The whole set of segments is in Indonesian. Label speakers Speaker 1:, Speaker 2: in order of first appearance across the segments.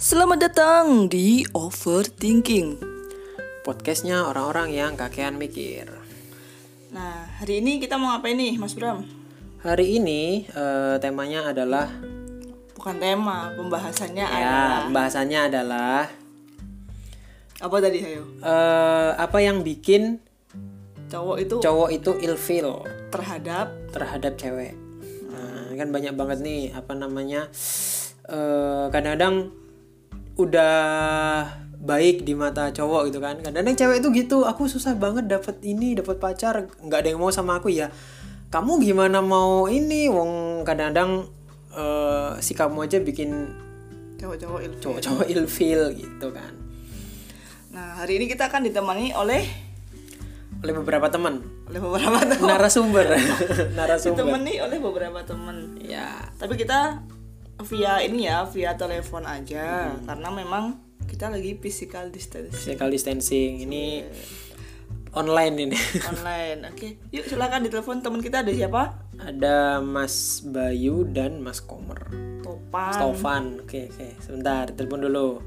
Speaker 1: Selamat datang di Overthinking.
Speaker 2: Podcastnya orang-orang yang kakean mikir.
Speaker 1: Nah, hari ini kita mau ngapain nih, Mas Bram?
Speaker 2: Hari ini eh, temanya adalah
Speaker 1: Bukan tema, pembahasannya
Speaker 2: ya
Speaker 1: adalah
Speaker 2: pembahasannya adalah
Speaker 1: apa tadi, Hayo?
Speaker 2: eh, apa yang bikin
Speaker 1: Cowok itu
Speaker 2: cowok itu ilfil
Speaker 1: terhadap
Speaker 2: terhadap cewek. Nah, kan banyak banget nih apa namanya eh, kadang-kadang udah baik di mata cowok gitu kan. Kadang-kadang cewek itu gitu, aku susah banget dapat ini, dapat pacar, nggak ada yang mau sama aku ya. Kamu gimana mau ini? Wong kadang-kadang eh, sikapmu aja bikin
Speaker 1: cowok-cowok ilfil.
Speaker 2: cowok-cowok ilfil gitu kan.
Speaker 1: Nah, hari ini kita akan ditemani oleh
Speaker 2: Oleh beberapa teman,
Speaker 1: oleh beberapa teman.
Speaker 2: narasumber, narasumber.
Speaker 1: Ditemani oleh beberapa teman.
Speaker 2: Ya,
Speaker 1: Tapi kita via ini ya, via telepon aja karena memang kita lagi physical distance
Speaker 2: physical distancing ini online ini.
Speaker 1: online. Oke, yuk silakan ditelepon teman kita ada siapa?
Speaker 2: Ada Mas Bayu dan Mas Komer. Mas
Speaker 1: Topan.
Speaker 2: Taufan. Oke, oke. Sebentar, telepon dulu.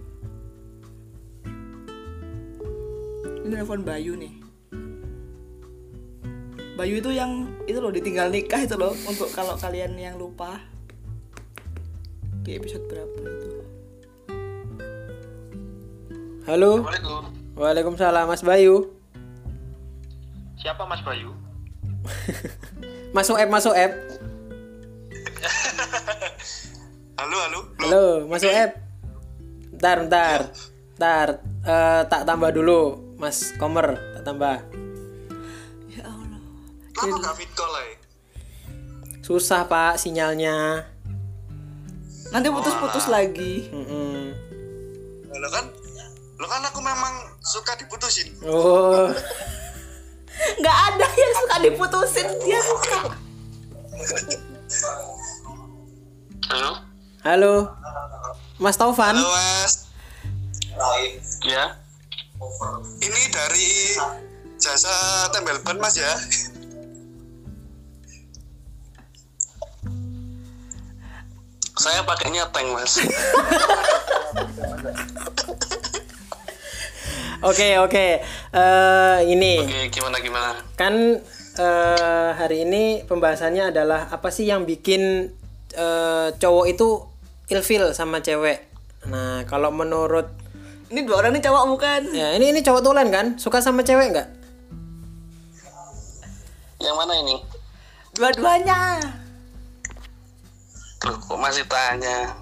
Speaker 1: Ini telepon Bayu nih. Bayu itu yang itu loh ditinggal nikah itu loh untuk kalau kalian yang lupa di episode berapa itu.
Speaker 2: Halo.
Speaker 3: Assalamualaikum.
Speaker 2: Waalaikumsalam Mas Bayu.
Speaker 3: Siapa Mas Bayu?
Speaker 2: Masuk app, masuk app.
Speaker 3: Halo, halo.
Speaker 2: Halo, masuk app. Bentar, bentar. Bentar. Eh, tak tambah dulu, Mas Komer, tak tambah.
Speaker 1: Ya Allah.
Speaker 3: Kenapa nggak fit call eh?
Speaker 2: Susah, Pak, sinyalnya.
Speaker 1: Nanti putus-putus lagi.
Speaker 2: Mm-mm.
Speaker 3: Lo kan, lo kan aku memang suka diputusin.
Speaker 2: Oh.
Speaker 1: Nggak ada yang suka diputusin dia suka.
Speaker 3: Halo.
Speaker 2: Halo. Mas Taufan.
Speaker 3: Halo Mas. Ya. Ini dari jasa tembel ban Mas ya. Saya pakainya tank Mas.
Speaker 2: Oke, oke. Eh, ini
Speaker 3: gimana gimana?
Speaker 2: kan eh, hari ini pembahasannya adalah apa sih yang bikin eh, cowok itu ilfil sama cewek. Nah, kalau menurut
Speaker 1: Ini dua orang ini cowok bukan?
Speaker 2: ya ini ini cowok tulen kan suka sama cewek nggak?
Speaker 3: Yang mana ini?
Speaker 1: Dua-duanya.
Speaker 3: Loh, kok masih tanya?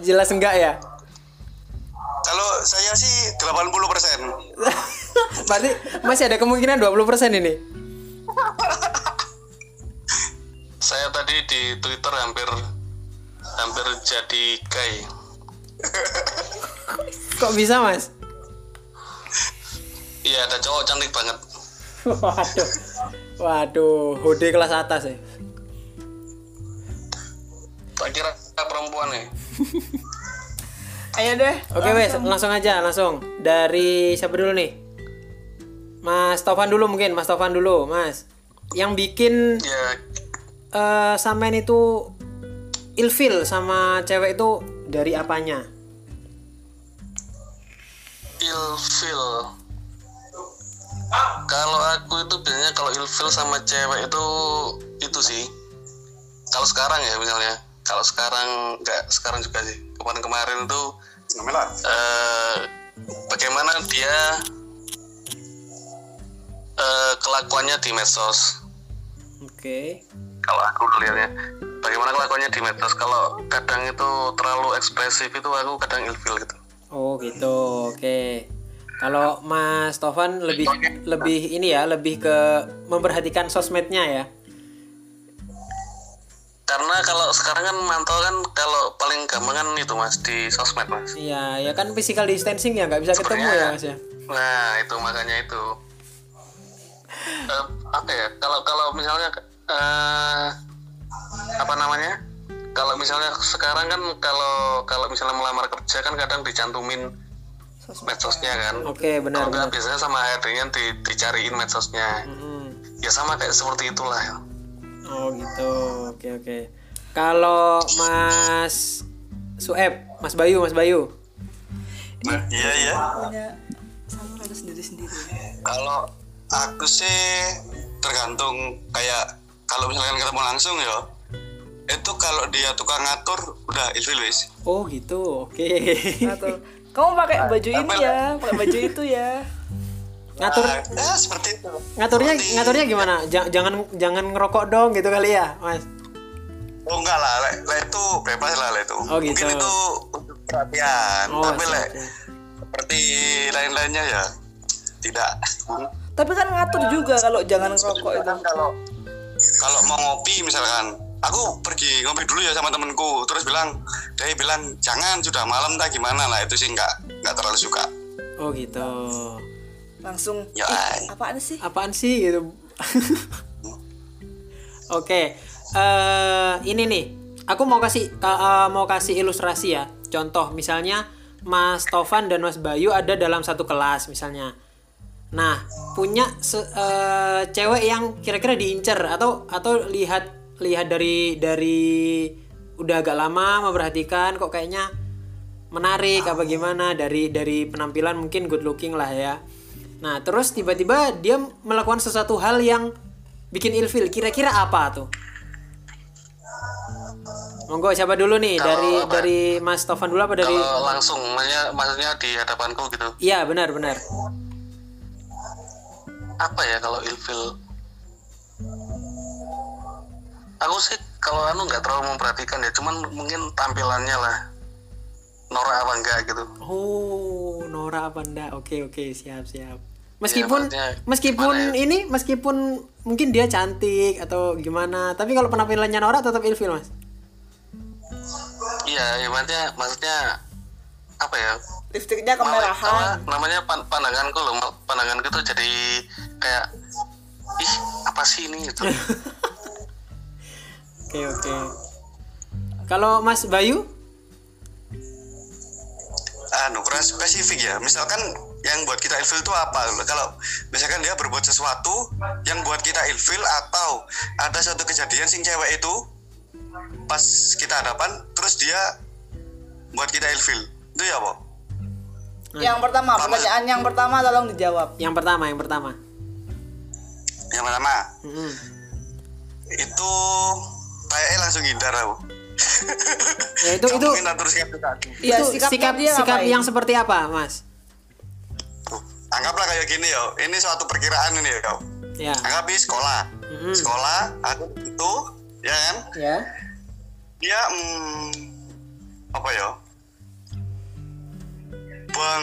Speaker 2: Jelas enggak ya?
Speaker 3: Kalau saya sih 80 persen.
Speaker 2: Berarti masih ada kemungkinan 20% ini.
Speaker 3: Saya tadi di Twitter hampir hampir jadi gay.
Speaker 2: Kok bisa, Mas?
Speaker 3: Iya ada cowok cantik banget.
Speaker 2: Waduh. Waduh, hode kelas atas ya.
Speaker 3: Tak kira perempuan ya.
Speaker 1: Ayo deh.
Speaker 2: Oke, wes, langsung aja, langsung. Dari siapa dulu nih? Mas Taufan dulu mungkin, Mas Taufan dulu, Mas. Yang bikin
Speaker 3: Ya
Speaker 2: eh sampean itu ilfil sama cewek itu dari apanya?
Speaker 3: ilfil. Kalau aku itu biasanya kalau ilfil sama cewek itu itu sih. Kalau sekarang ya misalnya. Kalau sekarang nggak sekarang juga sih. Kemarin-kemarin itu eh, bagaimana dia eh, kelakuannya di medsos.
Speaker 2: Oke.
Speaker 3: kalau aku melihatnya bagaimana kelakuannya di medsos kalau kadang itu terlalu ekspresif itu aku kadang ilfil gitu
Speaker 2: Oh, gitu. Oke. Kalau Mas Taufan lebih lebih ini ya, lebih ke memperhatikan sosmednya ya.
Speaker 3: karena kalau sekarang kan mantau kan kalau paling gampang kan itu mas di sosmed mas
Speaker 2: Iya, ya kan physical distancing ya, nggak bisa ketemu ya, Mas ya.
Speaker 3: nah itu makanya itu Eh, apa ya kalau kalau misalnya eh, apa namanya kalau misalnya sekarang kan kalau kalau misalnya melamar kerja kan kadang dicantumin medsosnya kan
Speaker 2: Oke,
Speaker 3: kalau
Speaker 2: benar. Hmm.
Speaker 3: nggak biasanya sama HRD-nya di- dicariin medsosnya
Speaker 2: Mm-mm.
Speaker 3: ya sama kayak seperti itulah
Speaker 2: Oh gitu, oke oke. Kalau Mas Sueb, Mas Bayu, Mas Bayu.
Speaker 3: Nah, iya iya.
Speaker 1: punya sama ada sendiri sendiri
Speaker 3: Kalau aku sih tergantung kayak kalau misalkan ketemu langsung ya itu kalau dia tukang ngatur udah ilfilwis
Speaker 2: Oh gitu, oke.
Speaker 1: atau kamu pakai baju ini
Speaker 3: Apa-
Speaker 1: ya pakai baju itu ya
Speaker 2: Ngatur
Speaker 3: Ah, ya seperti itu
Speaker 2: ngaturnya
Speaker 3: Seperti-
Speaker 2: ngaturnya gimana? Ja- jangan jangan ngerokok dong gitu kali ya, Mas.
Speaker 3: oh enggak lah lah lah itu bebas lah lah itu
Speaker 2: Oh, gitu.
Speaker 3: mungkin itu untuk perhatian
Speaker 2: Oh,
Speaker 3: tapi
Speaker 2: oke,
Speaker 3: lah
Speaker 2: oke.
Speaker 3: seperti lain-lainnya ya tidak
Speaker 1: tapi kan ngatur juga kalau jangan ngerokok itu
Speaker 3: Misalkan kalau kalau mau ngopi misalkan aku pergi ngopi dulu ya sama temenku terus bilang dia bilang jangan sudah malam tak gimana lah itu sih nggak nggak terlalu suka
Speaker 2: Oh gitu.
Speaker 1: langsung
Speaker 3: Ya,
Speaker 1: "Ih, apaan sih
Speaker 2: Apaan sih gitu? Oke, eh ini nih, aku mau kasih eh, eh, mau kasih ilustrasi ya. Contoh misalnya Mas Tovan dan Mas Bayu ada dalam satu kelas misalnya. Nah, punya se- eh, cewek yang kira-kira diincer atau atau lihat lihat dari dari udah agak lama memperhatikan kok kayaknya menarik apa gimana dari dari penampilan mungkin good looking lah ya. Nah, terus tiba-tiba dia melakukan sesuatu hal yang bikin ilfil. Kira-kira apa tuh? Monggo siapa dulu nih
Speaker 3: Kalau
Speaker 2: dari
Speaker 3: apa?
Speaker 2: dari Mas Tovan dulu apa dari
Speaker 3: kalau langsung maksudnya maksudnya di hadapanku gitu
Speaker 2: Iya, benar benar.
Speaker 3: apa ya kalau ilfil aku sih kalau anu nggak terlalu memperhatikan ya cuman mungkin tampilannya lah norak apa enggak gitu
Speaker 2: Oh, Nora apa enggak? Oke, oke, siap, siap. Meskipun
Speaker 3: maksudnya
Speaker 2: meskipun
Speaker 3: gimana ya?
Speaker 2: ini meskipun mungkin dia cantik atau gimana, tapi kalau penampilannya Nora tetap ilfil, Mas.
Speaker 3: iya ibaratnya maksudnya apa ya
Speaker 1: lipstiknya
Speaker 3: Malah-
Speaker 1: kemerahan
Speaker 3: malah namanya pan- pandanganku loh mal- pandanganku tuh jadi kayak ih apa sih ini gitu
Speaker 2: Oke, oke. Kalau Mas Bayu?
Speaker 3: anu kurang spesifik ya misalkan yang buat kita ilfil itu apa kalau misalkan dia berbuat sesuatu yang buat kita ilfil atau ada satu kejadian sing cewek itu pas kita hadapan terus dia buat kita ilfil itu ya Bo?
Speaker 2: Oh,
Speaker 1: yang pertama pertanyaan yang pertama tolong dijawab
Speaker 2: Yang pertama, yang pertama.
Speaker 3: yang pertama
Speaker 2: Mm-mm.
Speaker 3: itu kayaknya langsung hindar aku
Speaker 2: Ya itu itu
Speaker 3: mungkin tak teruskan ke gitu tadi.
Speaker 2: itu
Speaker 1: Iya, sikapnya
Speaker 2: sikap
Speaker 1: dia
Speaker 2: sikap
Speaker 1: ngapain?
Speaker 2: yang seperti apa, Mas?
Speaker 3: Tuh, anggaplah kayak gini yo ini suatu perkiraan ini ya kau
Speaker 2: Ya.
Speaker 3: anggap ini sekolah
Speaker 2: Mm-mm.
Speaker 3: sekolah aku itu ya kan
Speaker 1: ya
Speaker 3: dia mm, apa ya bang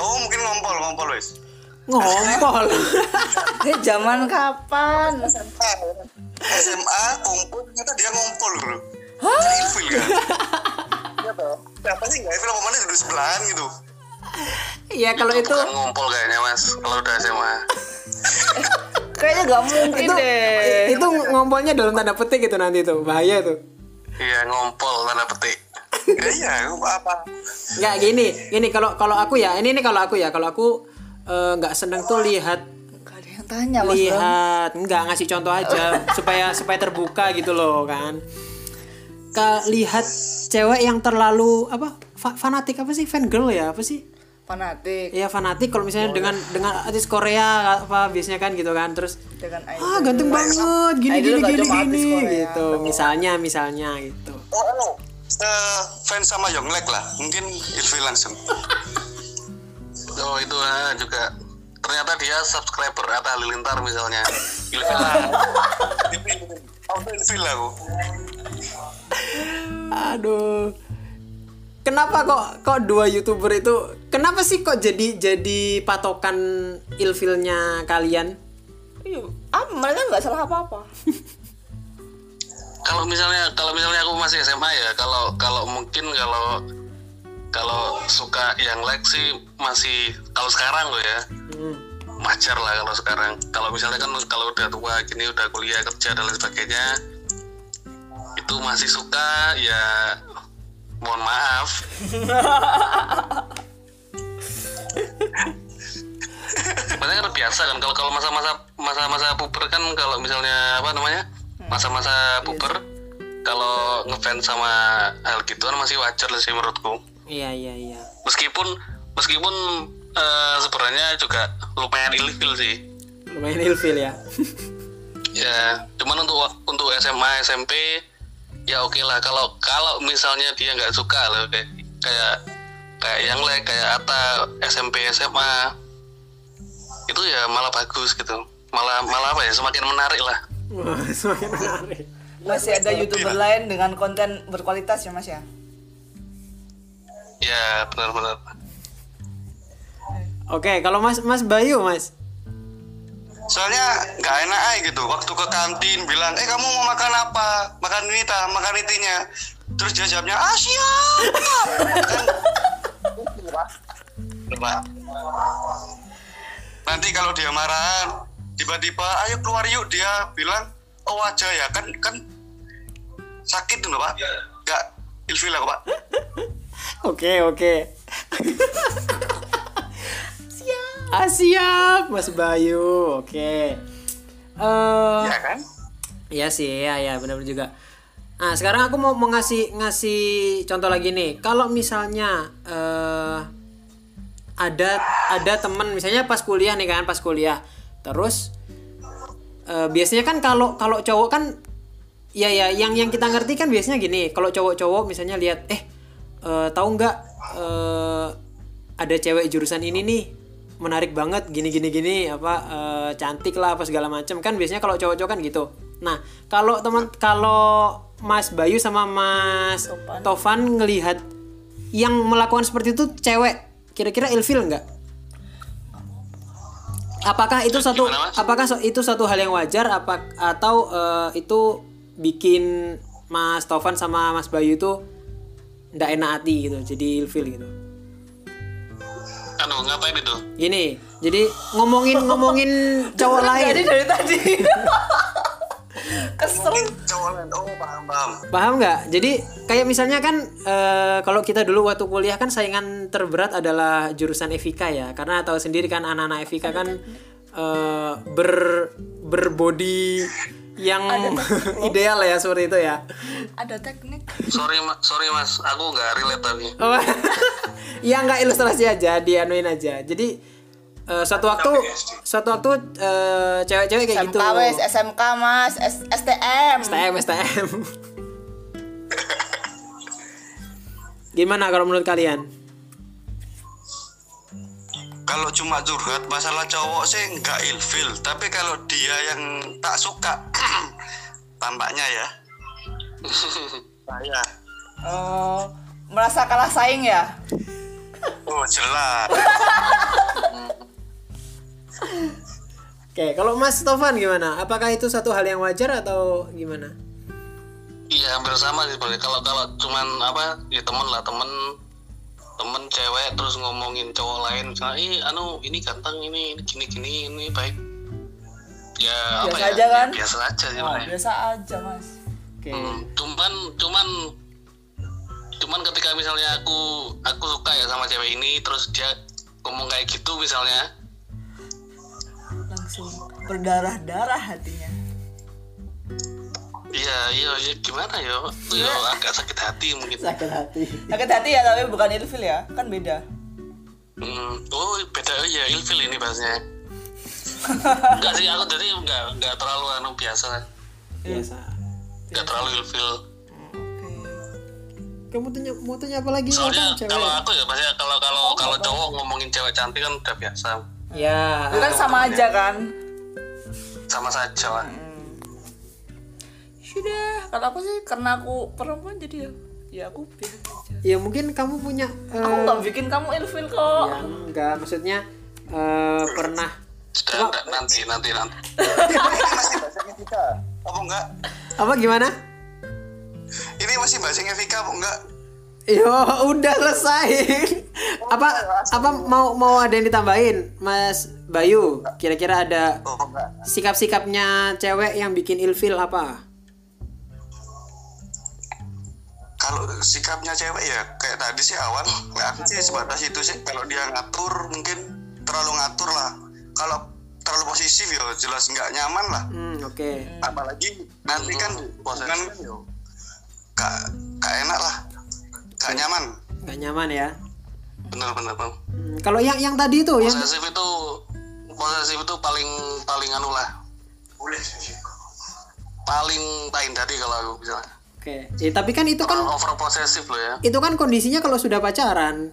Speaker 3: oh mungkin ngompol ngompol wes
Speaker 2: Ngompol.
Speaker 1: Eh, zaman kapan
Speaker 3: SMA kumpul ternyata dia ngompol bro Jadi ilfil kan Iya, toh. siapa sih nggak ilfil omongannya duduk sebelahan gitu
Speaker 2: Iya, kalau itu
Speaker 3: bukan Kan ngompol kayaknya mas kalau udah SMA
Speaker 1: kayaknya gak mungkin
Speaker 2: itu
Speaker 1: deh
Speaker 2: itu ngompolnya dalam tanda petik gitu nanti tuh. Bahaya tuh.
Speaker 3: iya ngompol tanda petik Ya, iya aku apa
Speaker 2: nggak gini gini kalau kalau aku ya ini ini kalau aku ya kalau aku eh, nggak seneng tuh lihat
Speaker 1: gak ada yang tanya mas
Speaker 2: Iya.
Speaker 1: Bram.
Speaker 2: lihat nggak ngasih contoh aja supaya supaya terbuka gitu loh kan Ke, lihat cewek yang terlalu apa fa- fanatik apa sih fan girl ya apa sih
Speaker 1: fanatik
Speaker 2: ya fanatik kalau misalnya dengan dengan artis Korea apa biasanya kan gitu kan terus
Speaker 1: dengan idol
Speaker 2: ah ganteng banget gini
Speaker 1: Idol gitu
Speaker 2: gini
Speaker 1: nggak
Speaker 2: gini
Speaker 1: cuma artis
Speaker 2: gini
Speaker 1: Korea.
Speaker 2: gitu misalnya misalnya gitu
Speaker 3: Oh, oh. Eh, fans sama Yonglek lah, mungkin Ilvi langsung. oh itu ah, juga ternyata dia subscriber Atta Halilintar misalnya. Ilvi lah. Ilvi, Ilvi. Auto Ilvi lah aku.
Speaker 2: Aduh. Kenapa kok kok dua youtuber itu kenapa sih kok jadi jadi patokan ilfilnya kalian?
Speaker 1: Iya. ah mereka nggak salah apa apa
Speaker 3: Kalau misalnya kalau misalnya aku masih SMA ya, kalau kalau mungkin kalau kalau suka yang like sih masih kalau sekarang loh ya wajar lah kalau sekarang kalau misalnya kan kalau udah tua gini udah kuliah kerja dan lain sebagainya itu masih suka ya mohon maaf Maksudnya kan biasa kan kalau kalau masa-masa masa-masa puber kan kalau misalnya apa namanya masa-masa puber kalau ngefans sama hal gituan masih wajar sih menurutku
Speaker 2: iya iya iya
Speaker 3: meskipun meskipun eh, sebenarnya juga lumayan ilfil sih
Speaker 2: lumayan ilfil ya
Speaker 3: ya cuman untuk untuk SMA SMP ya oke lah kalau kalau misalnya dia nggak suka loh kayak kayak kayak yang lain kayak Ata SMP SMA itu ya malah bagus gitu malah malah apa ya semakin menarik lah
Speaker 2: Wah, semakin menarik
Speaker 1: Masih ada youtuber lain dengan konten berkualitas ya mas ya?
Speaker 3: ya benar-benar
Speaker 2: oke kalau mas mas Bayu mas
Speaker 4: soalnya nggak enak aja gitu waktu ke kantin bilang eh kamu mau makan apa makan ini ta makan itinya terus dia jawabnya ah Kan. siap
Speaker 3: Pak.
Speaker 4: nanti kalau dia marahan tiba-tiba ayo keluar yuk dia bilang oh aja ya kan kan sakit tuh pak nggak ilfil lah pak
Speaker 2: Oke oke. siap. Ah, siap Mas Bayu. Oke. Eh
Speaker 4: ya kan
Speaker 2: iya sih ya ya benar juga. Nah sekarang aku mau mau ngasih ngasih contoh lagi nih. Kalau misalnya eh ada ada teman misalnya pas kuliah nih kan pas kuliah terus eh, biasanya kan kalau kalau cowok kan ya ya yang yang kita ngerti kan biasanya gini kalau cowok-cowok misalnya lihat eh eh, tahu nggak eh, ada cewek jurusan ini nih menarik banget gini gini gini apa eh, cantik lah apa segala macam kan biasanya kalau cowok-cowok kan gitu nah kalau teman kalau Mas Bayu sama Mas
Speaker 1: Topan.
Speaker 2: Tovan ngelihat yang melakukan seperti itu cewek kira-kira ilfil nggak apakah itu satu
Speaker 3: Gimana, Mas?
Speaker 2: apakah so- itu satu hal yang wajar apa atau eh, itu bikin Mas Tovan sama Mas Bayu itu ndak enak hati gitu jadi ilfil gitu
Speaker 3: anu ngapain itu
Speaker 2: gini jadi ngomongin ngomongin cowok lain
Speaker 1: Jadi dari tadi Kesel
Speaker 4: cowok lain oh paham paham
Speaker 2: paham nggak jadi kayak misalnya kan eh, kalau kita dulu waktu kuliah kan saingan terberat adalah jurusan FIK ya karena tahu sendiri kan anak-anak FIK kan eh, ber berbody yang
Speaker 1: oh.
Speaker 2: ideal ya seperti itu ya
Speaker 1: Ada teknik
Speaker 3: sorry ma- sorry mas aku nggak relate tapi
Speaker 2: Oh, ya nggak ilustrasi aja dianuin aja jadi eh, suatu waktu suatu waktu eh, cewek-cewek kayak
Speaker 1: SMK
Speaker 2: gitu
Speaker 1: wes, SMK mas, S- STM
Speaker 2: STM STM gimana kalau menurut kalian
Speaker 4: kalau cuma curhat masalah cowok sih nggak ilfil tapi kalau dia yang tak suka tampaknya ya saya
Speaker 1: Oh, Merasa kalah saing ya?
Speaker 4: oh jelas
Speaker 2: Oke, kalau Mas Tovan gimana? Apakah itu satu hal yang wajar atau gimana?
Speaker 3: Iya hampir sama sih sebenarnya. Kalau kalau cuman apa ya temen lah temen temen cewek terus ngomongin cowok lain misalnya ih anu ini ganteng ini ini gini gini ini baik ya apa
Speaker 1: Biasa
Speaker 3: ya,
Speaker 1: aja kan?
Speaker 3: ya, biasa aja sih
Speaker 1: Oh,
Speaker 3: sebenarnya.
Speaker 1: biasa aja mas
Speaker 2: Oke.
Speaker 3: Hmm, cuman cuman cuman ketika misalnya aku aku suka ya sama cewek ini terus dia ngomong kayak gitu misalnya
Speaker 1: Langsung berdarah-darah hatinya
Speaker 3: iya iya iya, gimana yo yo
Speaker 1: Iya.
Speaker 3: agak sakit hati mungkin
Speaker 2: Sakit hati.
Speaker 1: Sakit hati ya tapi bukan ilfil ya Kan beda
Speaker 3: Hmm, oh beda oh ya ilfil ini bahasanya. enggak sih aku jadi enggak enggak terlalu anu biasa,
Speaker 2: Biasa.
Speaker 3: enggak terlalu ilfil.
Speaker 2: Kamu tanya mau tanya apa lagi?
Speaker 3: Soalnya
Speaker 2: Tovan, cewek?
Speaker 3: kalau aku ya pasti kalau kalau kalau cowok ngomongin cewek cantik kan udah biasa,
Speaker 2: Ya.
Speaker 1: Itu kan sama aja kan
Speaker 3: sama saja lah.
Speaker 1: Sudah, kalau aku sih karena aku perempuan jadi ya ya aku biasa aja.
Speaker 2: Ya mungkin kamu punya eh,
Speaker 1: Aku nggak bikin kamu ilfil kok.
Speaker 2: ya, enggak maksudnya eh, pernah
Speaker 3: Sudah, enggak, nanti nanti nanti.
Speaker 4: ini masih bahasanya Vika apa Oh, enggak
Speaker 2: apa gimana?
Speaker 4: ini masih bahasanya Vika apa enggak
Speaker 2: Yo, udah selesai. apa apa mau mau ada yang ditambahin, Mas Bayu? Kira-kira ada
Speaker 4: oh enggak
Speaker 2: sikap-sikapnya cewek yang bikin ilfil apa?
Speaker 4: kalau sikapnya cewek ya kayak tadi sih awal ya aku sih sebatas itu sih kalau dia ngatur mungkin terlalu ngatur lah kalau terlalu posesif ya jelas nggak nyaman lah
Speaker 2: Hmm, oke.
Speaker 4: apalagi nanti kan
Speaker 3: Posesif.
Speaker 4: kan gak gak enak lah gak nyaman
Speaker 2: nggak nyaman ya
Speaker 4: bener-bener Iya. bang
Speaker 2: Hmm, kalau yang yang tadi itu yang
Speaker 4: posesif itu posesif itu paling paling anu lah paling paling tadi kalau aku bisa
Speaker 2: oke Eh, tapi kan itu kan
Speaker 4: over posesif loh ya
Speaker 2: itu kan kondisinya kalau sudah pacaran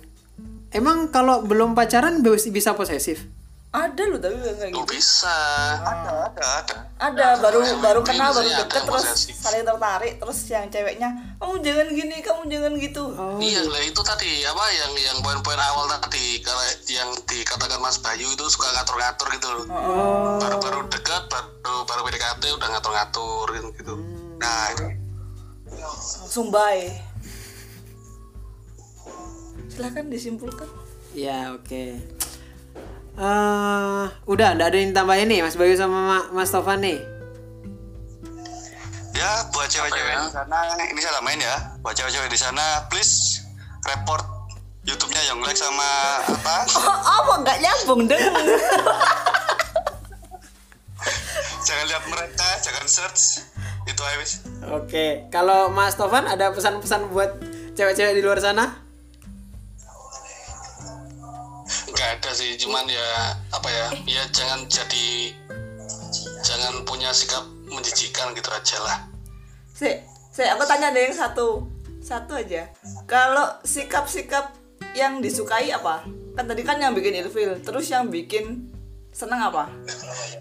Speaker 2: emang kalau belum pacaran be- bisa posesif
Speaker 1: ada loh tapi nggak kayak
Speaker 4: Tuh
Speaker 3: Oh,
Speaker 1: gitu
Speaker 4: bisa ada ada ada Nah,
Speaker 1: ada baru baru kenal baru
Speaker 4: biasanya ada
Speaker 1: deket
Speaker 4: yang
Speaker 1: terus
Speaker 4: posesif.
Speaker 1: saling tertarik terus yang ceweknya kamu jangan gini kamu jangan gitu
Speaker 2: Oh,
Speaker 4: Iya lah itu tadi apa yang yang poin-poin awal tadi kalau yang dikatakan Mas Bayu itu suka ngatur-ngatur gitu loh.
Speaker 1: Oh.
Speaker 3: Oh.
Speaker 4: Baru-baru dekat baru baru PDKT udah ngatur-ngatur gitu. gitu. Nah itu
Speaker 1: langsung bye silahkan disimpulkan
Speaker 2: ya oke Eh, udah nggak ada yang ditambahin nih Mas Bayu sama Ma- Mas Tovan nih
Speaker 4: ya buat cewek-cewek di sana ini saya main ya. Buat cewek-cewek di sana please report YouTube-nya yang like sama apa?
Speaker 1: oh, apa nggak nyambung deng
Speaker 4: jangan lihat mereka, jangan search. Itu aja wis.
Speaker 2: oke kalau Mas Tovan ada pesan-pesan buat cewek-cewek di luar sana
Speaker 4: Gak ada sih, cuman ya apa ya, ya jangan jadi jangan punya sikap menjijikan gitu aja lah.
Speaker 1: si si aku tanya deh yang satu satu aja kalau sikap-sikap yang disukai apa kan tadi kan yang bikin ilfil terus yang bikin seneng apa
Speaker 4: ya?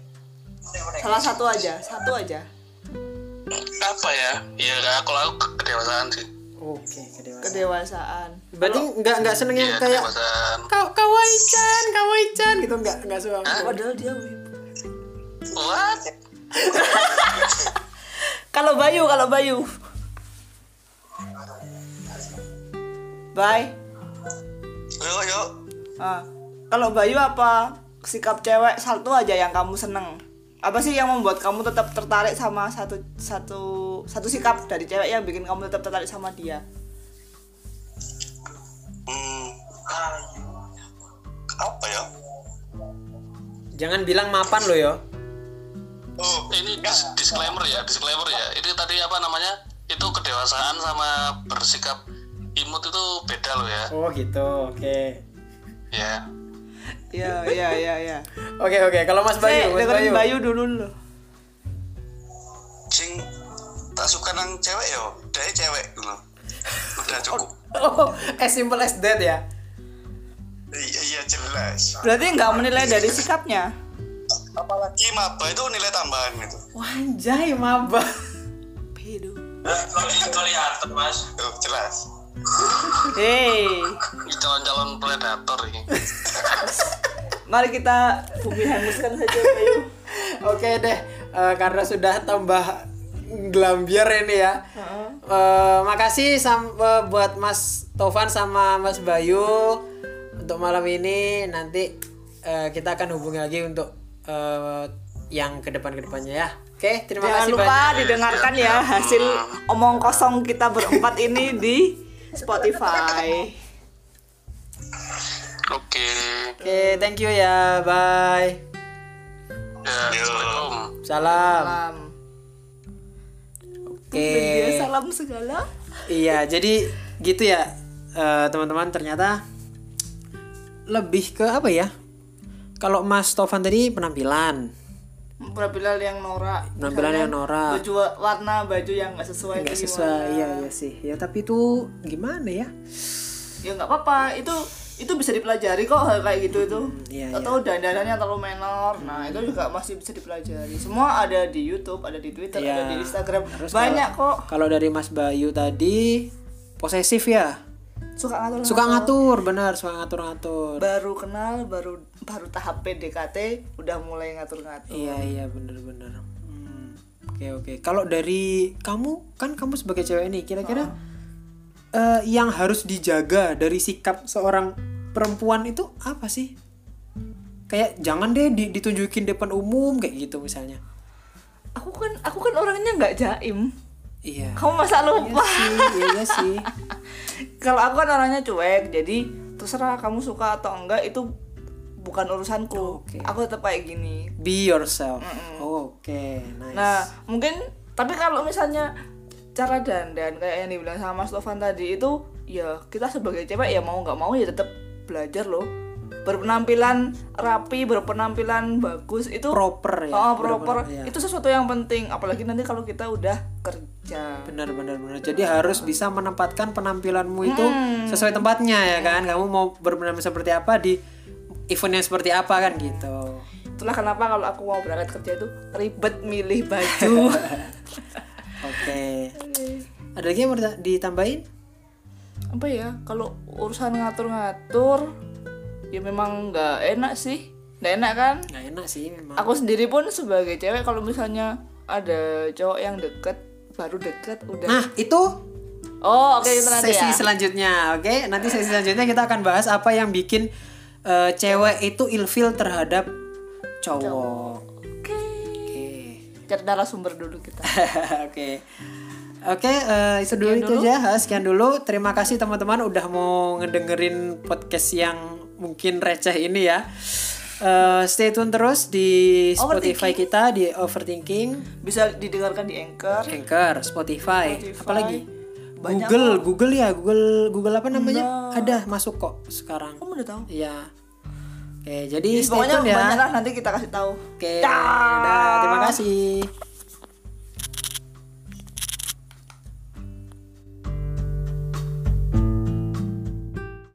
Speaker 1: salah satu aja satu aja
Speaker 4: Apa ya? Ya kalau aku ke- kedewasaan sih.
Speaker 2: oke kedewasaan
Speaker 1: kedewasaan
Speaker 2: berarti nggak nggak seneng yang
Speaker 4: Iya,
Speaker 2: kayak
Speaker 4: kedewasaan.
Speaker 2: kau kawaii-chan kawaii-chan gitu nggak nggak suka
Speaker 1: padahal dia wibu.
Speaker 4: What?
Speaker 1: Kalau Bayu, kalau Bayu. Bye.
Speaker 4: Yuk, yuk.
Speaker 1: Ah, kalau Bayu apa sikap cewek satu aja yang kamu seneng? Apa sih yang membuat kamu tetap tertarik sama satu satu satu sikap dari cewek yang bikin kamu tetap tertarik sama dia?
Speaker 4: Hmm. Apa ya?
Speaker 2: jangan bilang mapan lo yo
Speaker 4: Oh, ini dis- disclaimer ya, disclaimer ya. Ini tadi apa namanya? Itu kedewasaan sama bersikap imut itu beda loh ya.
Speaker 2: oh gitu oke
Speaker 4: Ya.
Speaker 1: Ya,
Speaker 2: Iya,
Speaker 1: ya, ya, ya.
Speaker 2: Oke oke, kalau Mas
Speaker 1: Saya
Speaker 2: Bayu, Mas
Speaker 1: dengerin Bayu dulu loh.
Speaker 4: Sing tak suka nang cewek yo, dari cewek loh. Udah cukup.
Speaker 2: Oh, as simple as that ya.
Speaker 4: Iya, iya jelas.
Speaker 1: Berarti nggak menilai dari sikapnya?
Speaker 4: Apalagi maba itu nilai tambahan gitu.
Speaker 2: Wanjai maba.
Speaker 1: Pedo.
Speaker 4: Kelihatan mas. Tuh, jelas.
Speaker 1: Hey,
Speaker 4: Ini calon-calon predator ini.
Speaker 1: mari kita bumi hanguskan saja Bayu.
Speaker 2: Oke deh, eh, karena sudah tambah gelambiar ini ya. Eh, makasih sam- eh, buat Mas Tovan sama Mas Bayu untuk malam ini. Nanti eh, kita akan hubungi lagi untuk eh, yang ke depan kedepannya ya. Oke, terima
Speaker 1: Jangan
Speaker 2: kasih
Speaker 1: lupa
Speaker 2: banyak. Iya.
Speaker 1: didengarkan ya hasil omong kosong kita berempat ini di Spotify.
Speaker 4: Oke.
Speaker 2: Oke, thank you ya. Bye.
Speaker 4: Ya, Assalamualaikum.
Speaker 2: Salam.
Speaker 1: Salam.
Speaker 2: Oke.
Speaker 1: Dia salam segala.
Speaker 2: Iya, jadi gitu ya eh, teman-teman ternyata lebih ke apa ya? Kalau Mas Tovan tadi penampilan,
Speaker 1: Penampilan yang norak.
Speaker 2: penampilan yang norak,
Speaker 1: Baju wa- warna baju yang nggak sesuai.
Speaker 2: nggak
Speaker 1: itu
Speaker 2: sesuai,
Speaker 1: gimana.
Speaker 2: iya iya sih. Ya tapi itu gimana ya?
Speaker 1: Ya nggak apa-apa. Itu itu bisa dipelajari kok hal kayak gitu itu.
Speaker 2: iya,
Speaker 1: Atau dandanannya terlalu menor. Nah itu juga masih bisa dipelajari. Semua ada di YouTube, ada di Twitter,
Speaker 2: Iya.
Speaker 1: ada di Instagram.
Speaker 2: Terus
Speaker 1: Banyak
Speaker 2: kalau-
Speaker 1: kok.
Speaker 2: Kalau dari Mas Bayu tadi posesif ya,
Speaker 1: Suka ngatur.
Speaker 2: suka ngatur, benar suka ngatur-ngatur.
Speaker 1: baru kenal baru baru tahap PDKT udah mulai ngatur-ngatur
Speaker 2: Iya iya benar-benar. Hmm, Oke oke. Kalau dari kamu kan kamu sebagai cewek nih kira-kira eh, yang harus dijaga dari sikap seorang perempuan itu apa sih? Kayak jangan deh di- ditunjukin depan umum kayak gitu misalnya.
Speaker 1: aku kan aku kan orangnya nggak jaim
Speaker 2: Iya.
Speaker 1: kamu masa
Speaker 2: Iya
Speaker 1: lupa
Speaker 2: sih, iya, iya sih.
Speaker 1: kalau aku kan orangnya cuek jadi terserah kamu suka atau enggak itu bukan urusanku
Speaker 2: Oke.
Speaker 1: aku tetap kayak gini
Speaker 2: Be yourself. Oke, nice.
Speaker 1: nah mungkin tapi kalau misalnya cara dandan kayak yang dibilang sama Mas Lovan tadi itu ya kita sebagai cewek ya mau nggak mau ya tetap belajar loh berpenampilan rapi berpenampilan bagus itu
Speaker 2: Proper ya,
Speaker 1: oh, proper
Speaker 2: bener-bener, ya.
Speaker 1: itu sesuatu yang penting apalagi nanti kalau kita udah kerja
Speaker 2: benar benar benar jadi harus bisa menempatkan penampilanmu itu
Speaker 1: Hmm.
Speaker 2: sesuai tempatnya ya kan kamu mau berpenampilan seperti apa di eventnya seperti apa kan gitu
Speaker 1: itulah kenapa kalau aku mau berangkat kerja itu ribet milih baju
Speaker 2: oke ada lagi yang mau dita- ditambahin
Speaker 1: apa ya kalau urusan ngatur-ngatur ya memang nggak enak sih nggak enak kan
Speaker 2: nggak enak sih memang
Speaker 1: aku sendiri pun sebagai cewek kalau misalnya ada cowok yang deket baru deket udah
Speaker 2: nah itu
Speaker 1: oh oke itu nanti
Speaker 2: sesi
Speaker 1: ya
Speaker 2: selanjutnya oke nanti sesi selanjutnya kita akan bahas apa yang bikin eh, cewek itu ilfil terhadap cowok
Speaker 1: oke
Speaker 2: oke
Speaker 1: cari narasumber dulu kita
Speaker 2: Oke. Oke, eh, itu dulu itu aja. Ha, Sekian dulu. Terima kasih teman-teman udah mau ngedengerin podcast yang mungkin receh ini ya. Eh, stay tune terus di Spotify kita di Overthinking,
Speaker 1: bisa didengarkan di anchor
Speaker 2: Anchor, Spotify,
Speaker 1: Spotify.
Speaker 2: apalagi
Speaker 1: Banyak
Speaker 2: Google, Google ya, Google Google apa namanya? Ada masuk kok sekarang.
Speaker 1: kamu udah tahu
Speaker 2: Iya. Oke, jadi stay
Speaker 1: pokoknya
Speaker 2: tune ya.
Speaker 1: banyak lah nanti kita kasih tahu
Speaker 2: Oke. dadah. Terima kasih.